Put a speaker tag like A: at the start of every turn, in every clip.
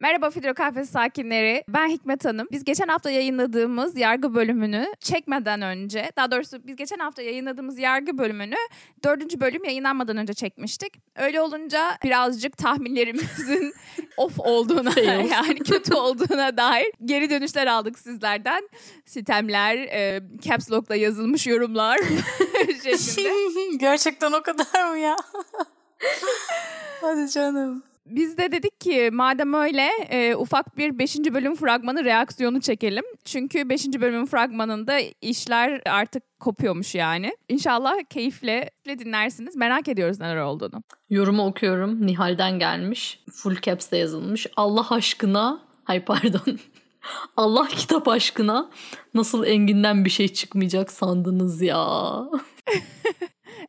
A: Merhaba Fidro Kahvesi sakinleri. Ben Hikmet Hanım. Biz geçen hafta yayınladığımız yargı bölümünü çekmeden önce, daha doğrusu biz geçen hafta yayınladığımız yargı bölümünü dördüncü bölüm yayınlanmadan önce çekmiştik. Öyle olunca birazcık tahminlerimizin off olduğuna,
B: Fail.
A: yani kötü olduğuna dair geri dönüşler aldık sizlerden. Sitemler, e, caps lock'la yazılmış yorumlar şeklinde.
B: Gerçekten o kadar mı ya? Hadi canım.
A: Biz de dedik ki madem öyle e, ufak bir 5. bölüm fragmanı reaksiyonu çekelim. Çünkü 5. bölümün fragmanında işler artık kopuyormuş yani. İnşallah keyifle keyifle dinlersiniz. Merak ediyoruz neler olduğunu.
B: Yorumu okuyorum. Nihal'den gelmiş. Full caps'te yazılmış. Allah aşkına. Hayır pardon. Allah kitap aşkına nasıl enginden bir şey çıkmayacak sandınız ya.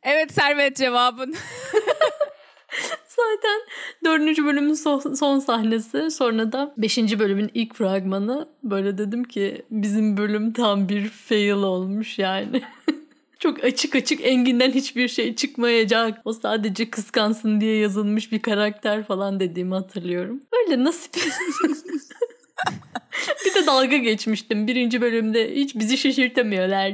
A: Evet Servet cevabın.
B: Zaten dördüncü bölümün son, son sahnesi sonra da beşinci bölümün ilk fragmanı böyle dedim ki bizim bölüm tam bir fail olmuş yani. Çok açık açık Engin'den hiçbir şey çıkmayacak. O sadece kıskansın diye yazılmış bir karakter falan dediğimi hatırlıyorum. Öyle nasip. bir de dalga geçmiştim. Birinci bölümde hiç bizi şaşırtamıyorlar.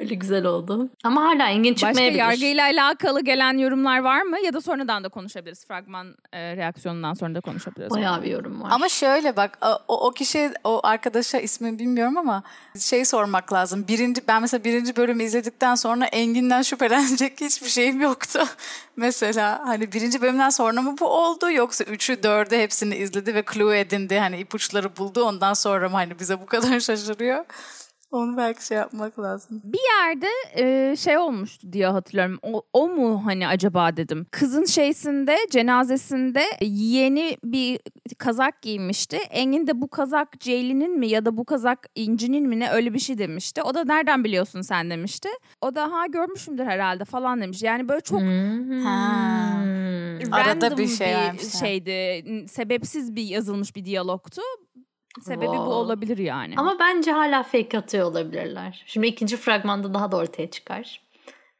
B: Öyle güzel oldu. Ama hala Engin
A: Başka
B: çıkmayabilir.
A: yargıyla alakalı gelen yorumlar var mı? Ya da sonradan da konuşabiliriz. Fragman e, reaksiyonundan sonra da konuşabiliriz.
B: Bayağı bir yorum var.
C: Ama şöyle bak o, o kişi o arkadaşa ismi bilmiyorum ama şey sormak lazım. Birinci ben mesela birinci bölümü izledikten sonra Engin'den şüphelenecek hiçbir şeyim yoktu. mesela hani birinci bölümden sonra mı bu oldu yoksa üçü dördü hepsini izledi ve clue edindi hani ipuçları buldu ondan sonra mı hani bize bu kadar şaşırıyor. Onu belki şey yapmak lazım.
A: yerde e, şey olmuştu diye hatırlıyorum. O, o mu hani acaba dedim. Kızın şeysinde cenazesinde yeni bir kazak giymişti. Engin de bu kazak Ceylin'in mi ya da bu kazak İnci'nin mi ne öyle bir şey demişti. O da nereden biliyorsun sen demişti. O da ha görmüşümdür herhalde falan demiş. Yani böyle çok
B: Hmm.
C: Ha. Arada
A: random
C: bir şey
A: bir
C: vermişler.
A: şeydi. N- Sebepsiz bir yazılmış bir diyalogtu. Sebebi bu
B: Wow.
A: olabilir yani.
B: Ama bence hala fake atıyor olabilirler. Şimdi ikinci fragmanda daha da ortaya çıkar.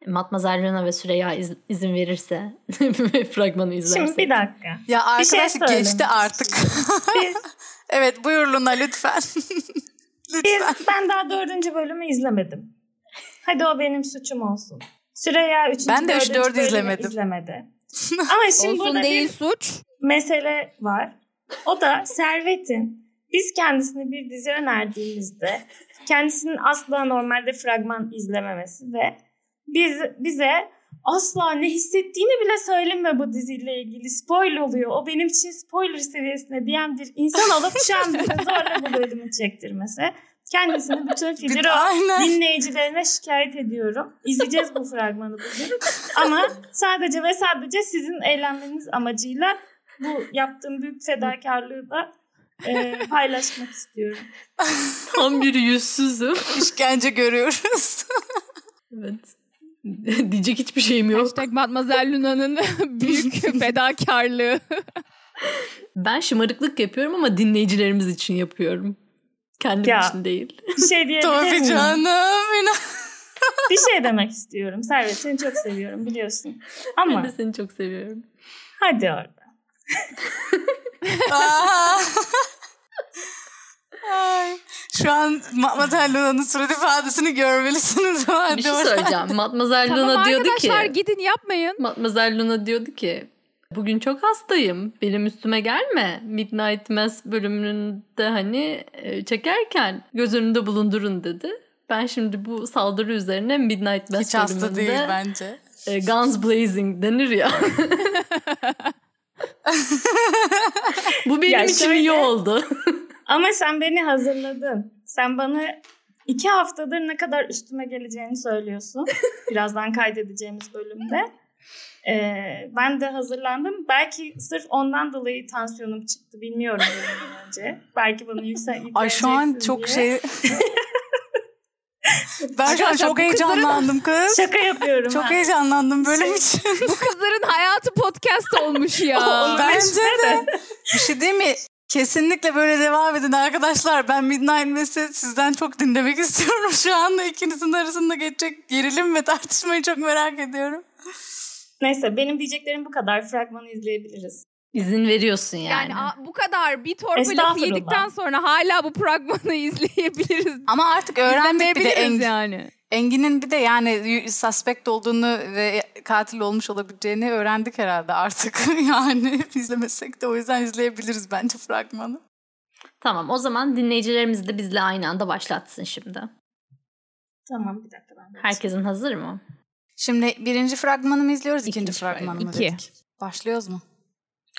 B: Matmazel Rena ve Süreyya iz- izin verirse fragmanı izlerse.
D: Şimdi bir dakika.
C: Ya
D: Bir şey
C: arkadaş geçti
D: söyleyeyim.
C: artık.
D: Biz,
C: evet buyur Luna lütfen. lütfen.
D: biz, ben daha dördüncü bölümü izlemedim. Hadi o benim suçum olsun. Süreyya üçüncü,
C: Ben de üç,
D: dördüncü
C: dördü
D: bölümü
C: izlemedim.
D: izlemedi. Ama şimdi
A: Olsun
D: burada
A: değil
D: bir
A: suç.
D: mesele var. O da Servet'in biz kendisine bir dizi önerdiğimizde kendisinin asla normalde fragman izlememesi ve biz bize asla ne hissettiğini bile söyleme bu diziyle ilgili spoil oluyor. O benim için spoiler seviyesine diyen bir insan olup şu an bize zorla bu bölümü çektirmesi. Kendisini bütün
C: Bir,
D: fikri o
C: aynen.
D: dinleyicilerine şikayet ediyorum. İzleyeceğiz bu fragmanı bugün. Ama sadece ve sadece sizin eğlenmeniz amacıyla bu yaptığım büyük fedakarlığı da e, paylaşmak istiyorum.
B: Tam bir yüzsüzüm.
C: İşkence görüyoruz.
B: evet. Diyecek hiçbir şeyim yok.
A: Hashtag Mademoiselle Luna'nın büyük fedakarlığı.
B: Ben şımarıklık yapıyorum ama dinleyicilerimiz için yapıyorum. Kendim
D: Ya.
B: için değil.
D: Bir şey diyebilir
C: Tabii
D: miyim?
C: canım. inan-
D: Bir şey demek istiyorum. Servet seni çok seviyorum biliyorsun.
B: Ben
D: Ama
B: de seni çok seviyorum.
D: hadi orada.
C: Aa. Ay. Şu an Matmazel Luna'nın surat ifadesini görmelisiniz.
B: bir
C: Hadi
B: şey
C: oradan.
B: söyleyeceğim. Matmazel Luna
A: tamam
B: diyordu ki.
A: arkadaşlar gidin yapmayın.
B: Matmazel Luna diyordu ki bugün çok hastayım benim üstüme gelme Midnight Mass bölümünde hani e, çekerken göz önünde bulundurun dedi. Ben şimdi bu saldırı üzerine Midnight Mass
C: Hiç hasta değil
B: bölümünde
C: bence.
B: e, Guns Blazing denir ya. bu benim
D: Ya
B: için
D: şöyle-
B: iyi oldu.
D: Ama sen beni hazırladın. Sen bana iki haftadır ne kadar üstüme geleceğini söylüyorsun. Birazdan kaydedeceğimiz bölümde. Ee, ben de hazırlandım. Belki sırf ondan dolayı tansiyonum çıktı. Bilmiyorum bölümden önce. Belki bana yüksel
C: Ay şu an
D: yükleneceksin
C: çok
D: diye.
C: şey... ben şu an
A: Arkadaşlar bu
C: çok heyecanlandım kız.
D: Şaka Şey yapıyorum.
C: Çok
D: ha.
C: heyecanlandım bölüm için.
A: Bu kızların hayatı podcast olmuş ya.
D: Oğlum, ben
C: Bence de. Bir şey değil mi? Kesinlikle böyle devam edin arkadaşlar. Ben Midnight Mass'i sizden çok dinlemek istiyorum. Şu anda ikinizin arasında geçecek gerilim ve tartışmayı çok merak ediyorum.
D: Neyse benim diyeceklerim bu kadar. Fragmanı izleyebiliriz.
B: İzin veriyorsun yani.
A: Yani a- bu kadar bir torba laf
D: Estağfurullah.
A: yedikten sonra hala bu pragmanı izleyebiliriz.
C: Ama artık öğrendik bir de
A: İzlemeyebiliriz
C: Engin.
A: yani.
C: Engin'in bir de yani y- suspect olduğunu ve katil olmuş olabileceğini öğrendik herhalde artık. yani izlemesek de o yüzden izleyebiliriz bence fragmanı.
B: Tamam o zaman dinleyicilerimiz de bizle aynı anda başlatsın şimdi.
D: Tamam bir dakika ben. de-
B: Herkesin hazır mı?
C: Şimdi birinci fragmanı mı izliyoruz, ikinci,
B: İkinci fragman.
C: fragmanı mı
A: İki.
C: dedik? Başlıyoruz mu?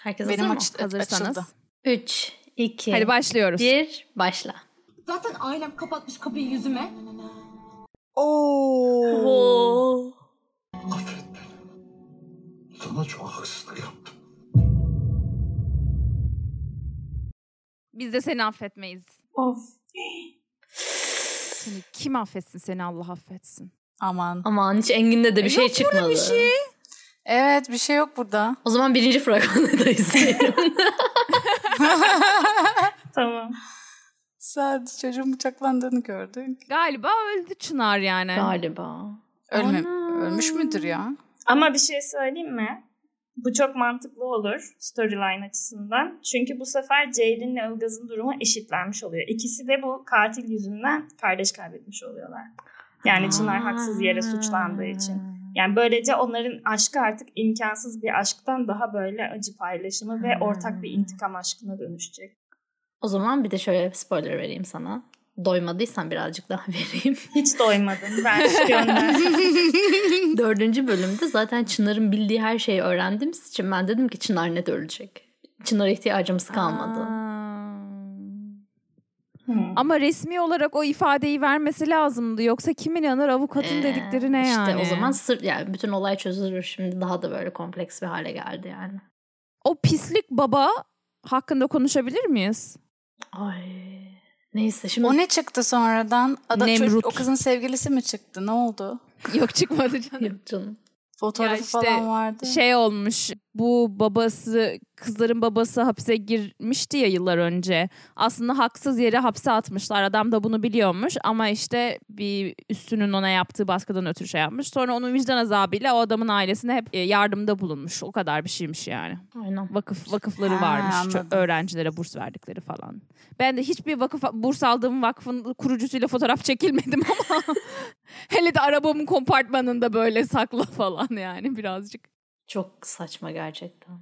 B: Herkes
C: Benim
B: hazır mı?
C: aç- aç-
A: Hazırsanız.
C: açıldı.
B: 3, 2,
A: Hadi başlıyoruz.
B: 1 başla.
E: Zaten ailem kapatmış kapıyı yüzüme.
B: Oo.
F: Affet beni. Sana çok haksızlık yaptım.
A: Biz de seni affetmeyiz.
D: Of.
A: Seni kim affetsin seni Allah affetsin.
C: Aman.
B: Aman hiç Engin'de de bir şey çıkmadı.
C: Evet bir şey yok burada.
B: O zaman birinci fragmanı da izleyelim.
D: Tamam.
C: Sadece çocuğun bıçaklandığını gördük.
A: Galiba öldü Çınar yani.
B: Galiba.
C: Ölme,
B: Ana.
C: ölmüş müdür ya?
D: Ama bir şey söyleyeyim mi? Bu çok mantıklı olur storyline açısından. Çünkü bu sefer Ceylin'le Ilgaz'ın durumu eşitlenmiş oluyor. İkisi de bu katil yüzünden kardeş kaybetmiş oluyorlar. Yani Çınar haksız yere suçlandığı için. Yani böylece onların aşkı artık imkansız bir aşktan daha böyle acı paylaşımı ve ortak bir intikam aşkına dönüşecek.
B: O zaman bir de şöyle spoiler vereyim sana. Doymadıysan birazcık daha vereyim.
D: Hiç doymadım. Ben şu gönder.
B: Dördüncü bölümde zaten Çınar'ın bildiği her şeyi öğrendiğimiz için ben dedim ki Çınar net ölecek. Çınar'a ihtiyacımız kalmadı.
A: Aa.
D: Hmm.
A: Ama resmi olarak o ifadeyi vermesi lazımdı. Yoksa kim inanır avukatın
B: Ee,
A: dedikleri ne yani?
B: İşte o zaman sır, yani bütün olay çözülür. Şimdi daha da böyle kompleks bir hale geldi yani.
A: O pislik baba hakkında konuşabilir miyiz?
B: Ay. Neyse şimdi
C: O ne çıktı sonradan? Ada çocuk-
A: Nemrut.
C: o kızın sevgilisi mi çıktı? Ne oldu?
A: Yok çıkmadı canım.
B: Yok canım.
C: Fotoğrafı
A: Ya işte
C: falan vardı.
A: Şey olmuş bu babası kızların babası hapse girmişti ya yıllar önce. Aslında haksız yere hapse atmışlar. Adam da bunu biliyormuş ama işte bir üstünün ona yaptığı baskıdan ötürü şey yapmış. Sonra onun vicdan azabıyla o adamın ailesine hep e, yardımda bulunmuş. O kadar bir şeymiş yani.
B: Aynen.
A: vakıf vakıfları
C: Ha,
A: varmış ço-
C: anladım.
A: öğrencilere burs verdikleri falan. Ben de hiçbir vakıf burs aldığım vakfın kurucusuyla fotoğraf çekilmedim ama hele de arabamın kompartmanında böyle sakla falan yani birazcık.
B: Çok saçma gerçekten.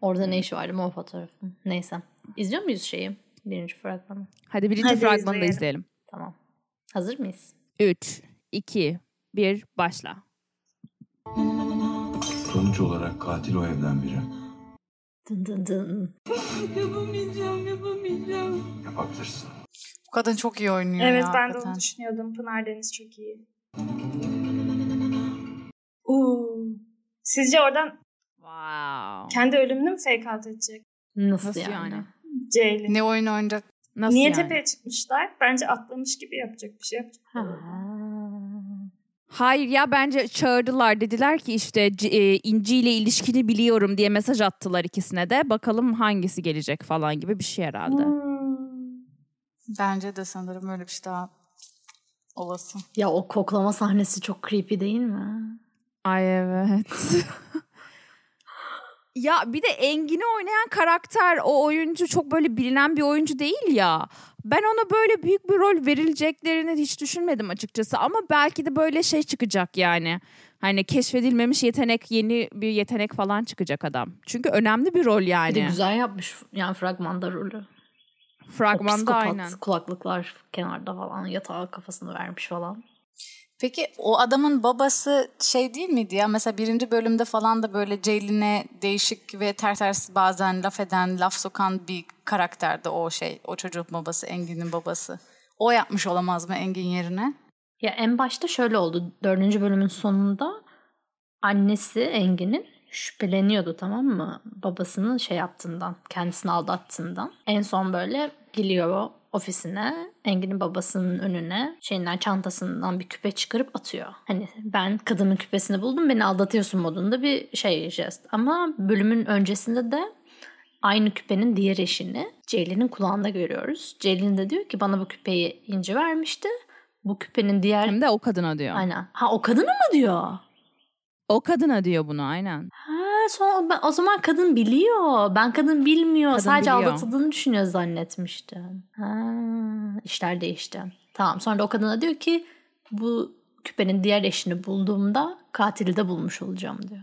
B: Orada ne işi vardı o fotoğrafın? Neyse. İzliyor muyuz şeyi? Birinci fragmanı.
A: Hadi birinci
D: Hadi
A: fragmanı da
D: izleyelim.
A: izleyelim.
B: Tamam. Hazır mıyız?
A: 3 2 1 başla.
F: Sonuç olarak katil o evden biri.
B: Dın dın dın.
E: Yapamayacağım, yapamayacağım.
F: Yapabilirsin.
C: Bu kadın çok iyi oynuyor
D: Evet
C: ya,
D: ben de
C: hakikaten.
D: onu düşünüyordum. Pınar Deniz çok iyi. Oo. Sizce oradan
A: Wow.
D: kendi ölümünü mü fake out edecek?
B: Nasıl,
A: Nasıl
B: yani?
A: yani?
D: Ceylin.
C: Ne oyun oynayacak?
A: Nasıl
D: Niye
A: yani?
D: tepeye çıkmışlar? Bence atlamış gibi yapacak bir şey yapacak.
B: Ha.
A: Hayır ya bence çağırdılar dediler ki işte C- e, İnci ile ilişkini biliyorum diye mesaj attılar ikisine de. Bakalım hangisi gelecek falan gibi bir şey herhalde.
C: Bence de sanırım öyle bir şey daha olası.
B: Ya o koklama sahnesi çok creepy değil mi?
A: Ay evet. ya bir de Engin'i oynayan karakter o oyuncu çok böyle bilinen bir oyuncu değil ya. Ben ona böyle büyük bir rol verileceklerini hiç düşünmedim açıkçası ama belki de böyle şey çıkacak yani. Hani keşfedilmemiş yetenek yeni bir yetenek falan çıkacak adam. Çünkü önemli bir rol
B: Bir de
A: yani.
B: güzel yapmış yani fragmanda rolü. O
A: Fragmanda
B: psikopat
A: aynen.
B: kulaklıklar kenarda falan yatağa kafasını vermiş falan.
C: Peki o adamın babası şey değil miydi ya? Mesela birinci bölümde falan da böyle Ceylin'e değişik ve ter ters bazen laf eden, laf sokan bir karakterdi o şey. O çocuğun babası, Engin'in babası. O yapmış olamaz mı Engin yerine?
B: Ya en başta şöyle oldu. Dördüncü bölümün sonunda annesi Engin'in şüpheleniyordu tamam mı? Babasının şey yaptığından, kendisini aldattığından. En son böyle geliyor ofisine, Engin'in babasının önüne şeyinden çantasından bir küpe çıkarıp atıyor. Hani ben kadının küpesini buldum beni aldatıyorsun modunda bir şey jest. Ama bölümün öncesinde de aynı küpenin diğer eşini Ceylin'in kulağında görüyoruz. Ceylin de diyor ki bana bu küpeyi inci vermişti. Bu küpenin diğer
A: Hem de o kadına diyor.
B: Aynen. Ha o kadını mı diyor?
A: O kadına diyor bunu aynen.
B: Ha son, ben- o zaman kadın biliyor. Ben kadın bilmiyor.
A: Kadın
B: Sadece
A: biliyor.
B: aldatıldığını düşünüyor zannetmiştim. Ha, işler değişti. Tamam sonra da o kadına diyor ki bu küpenin diğer eşini bulduğumda katili de bulmuş olacağım diyor.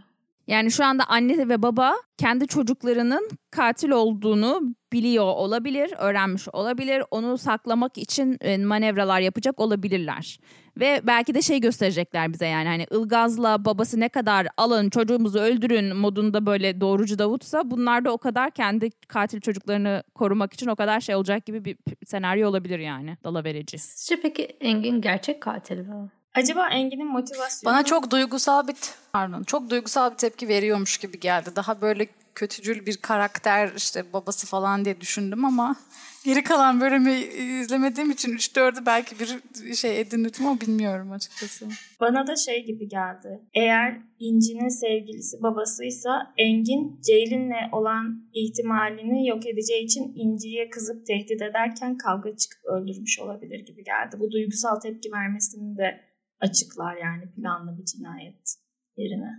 A: Yani şu anda anne ve baba kendi çocuklarının katil olduğunu biliyor olabilir, öğrenmiş olabilir. Onu saklamak için e, manevralar yapacak olabilirler. Ve belki de şey gösterecekler bize yani hani Ilgaz'la babası ne kadar alın çocuğumuzu öldürün modunda böyle doğrucu Davut'sa bunlar da o kadar kendi katil çocuklarını korumak için o kadar şey olacak gibi bir p- senaryo olabilir yani dalavereci.
B: Sizce peki Engin gerçek katil mi?
D: Acaba Engin'in motivasyonu...
C: Bana çok duygusal bir pardon, çok duygusal bir tepki veriyormuş gibi geldi. Daha böyle kötücül bir karakter işte babası falan diye düşündüm ama geri kalan bölümü e, izlemediğim için 3-4'ü belki bir şey edinirdim ama bilmiyorum açıkçası.
D: Bana da şey gibi geldi. Eğer İnci'nin sevgilisi babasıysa Engin Ceylin'le olan ihtimalini yok edeceği için İnci'ye kızıp tehdit ederken kavga çıkıp öldürmüş olabilir gibi geldi. Bu duygusal tepki vermesini de açıklar yani planlı bir cinayet yerine.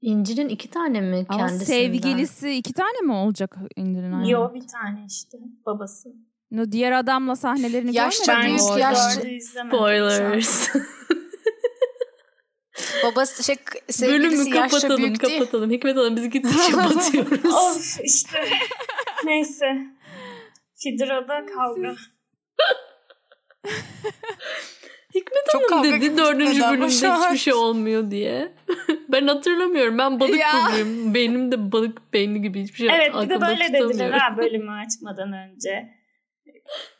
B: İnci'nin iki tane mi
A: Ama
B: kendisinden?
A: sevgilisi iki tane mi olacak indirin aynı?
D: Yo bir tane işte babası.
A: No, diğer adamla sahnelerini
C: Yaşça
A: görmedin mi
C: büyük,
A: orada?
C: yaşça-
D: dördü izlemedim şu an.
B: Spoilers.
C: Babası şey
B: Bölümü
C: sevgilisi yaşça
B: kapatalım
C: büyük değil.
B: kapatalım. Hikmet Hanım biz gittikçe batıyoruz.
D: Of işte. Neyse. Fidra'da kavga.
B: Hikmet
C: Çok
B: Hanım
C: kavga
B: dedi
C: gibi
B: dördüncü
C: gitmedi ama
B: bölümde
C: şu an.
B: hiçbir şey olmuyor diye. ben hatırlamıyorum. Ben balık
A: Ya.
B: burcuyum. Beynimde balık beyni gibi hiçbir şey
D: Evet bir de
B: aklımda
D: böyle dediler
B: tutamıyorum.
D: ha bölümü açmadan önce.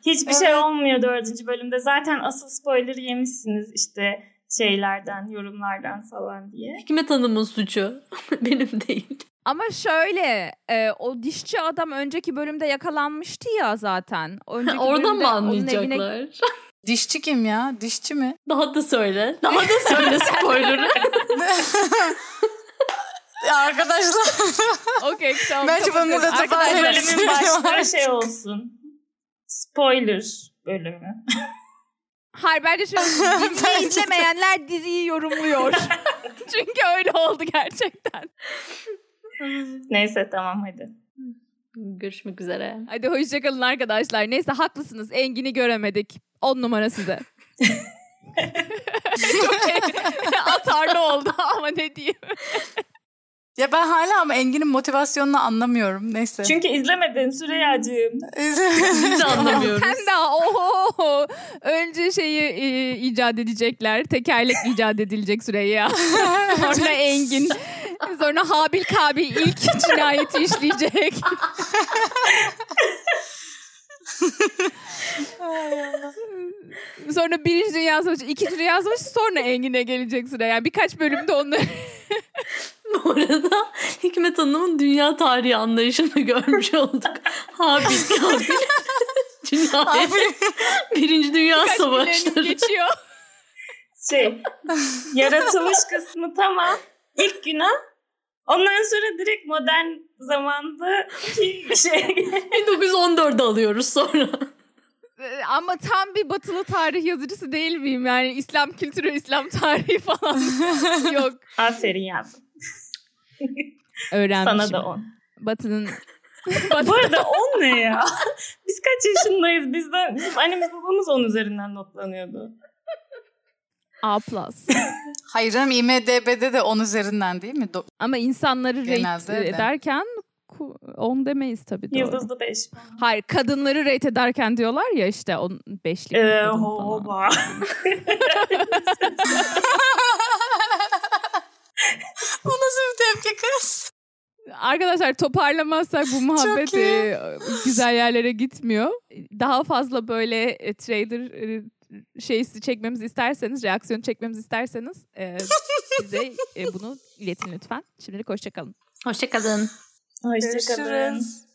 D: Hiçbir şey olmuyor dördüncü bölümde. Zaten asıl spoiler yemişsiniz işte şeylerden, yorumlardan falan diye.
B: Hikmet Hanım'ın suçu. Benim değil.
A: Ama şöyle e, o dişçi adam önceki bölümde yakalanmıştı ya zaten. Önceki
B: Oradan
A: bölümde
B: mı
A: onun evine-
B: anlayacaklar?
C: Dişçi kim ya? Dişçi mi?
B: Daha da söyle. Daha da söyle spoiler'ı.
C: Ya arkadaşlar
A: Okey tamam.
C: Bence
A: kapatıyorum.
C: bunu da
A: Arkadaşlar,
C: toparlayalım.
D: Bölümün başlığı şey olsun. Spoiler bölümü.
A: Hayır bence şöyle diziyi izlemeyenler diziyi yorumluyor. Çünkü öyle oldu gerçekten.
D: Neyse tamam hadi.
B: Görüşmek üzere.
A: Hadi hoşçakalın arkadaşlar. Neyse haklısınız Engin'i göremedik. 10 numara size. Çok şey- atarlı oldu ama ne diyeyim.
C: ya ben hala ama Engin'in motivasyonunu anlamıyorum. Neyse.
D: Çünkü izlemedin Süreyya'cığım.
B: Biz de anlamıyoruz.
A: Sen daha oho önce şeyi e, icat edecekler. Tekerlek icat edilecek Süreyya. sonra Engin. Sonra Habil Kabil ilk cinayeti işleyecek. sonra Birinci Dünya Savaşı, İkinci Dünya Savaşı sonra Engin'e gelecek Süreyya. Birkaç bölümde onları
B: Bu arada Hikmet Hanım'ın dünya tarihi anlayışını görmüş olduk. Habil Kabil. Cinayet. Birinci Dünya
A: birkaç millennium
B: Savaşları.
A: geçiyor.
D: Şey, yaratılış kısmı tamam. İlk günah. Ondan sonra direkt modern zamanda şey
B: 1914'de alıyoruz sonra.
A: Ee, Ama tam bir batılı tarih yazıcısı değil miyim? Yani İslam kültürü, İslam tarihi falan yok.
D: Aferin yavrum.
A: Öğrenmişim.
D: Sana da on.
A: Batı'nın
D: Bu arada on ne ya? Biz kaç yaşındayız? Bizden, bizim annemiz babamız on üzerinden notlanıyordu.
A: A+.
C: Hayır canım IMDB'de de 10 üzerinden değil mi? Do-
A: Ama insanları rate
C: Genelde de.
A: ederken ku- 10 demeyiz tabii doğru.
D: Yıldızlı beş.
A: Hayır kadınları rate ederken diyorlar ya işte 5'lik
D: Ee,
A: kadın falan.
D: hoba.
C: o nasıl bir tepki kız?
A: Arkadaşlar toparlamazsak bu muhabbet
C: iyi.
A: e, güzel yerlere gitmiyor. Daha fazla böyle e, trader e, şeysi çekmemizi isterseniz, reaksiyon çekmemizi isterseniz e, bize e, bunu iletin lütfen. Şimdilik hoşçakalın.
B: Hoşçakalın.
D: Hoşçakalın.
C: Görüşürüz.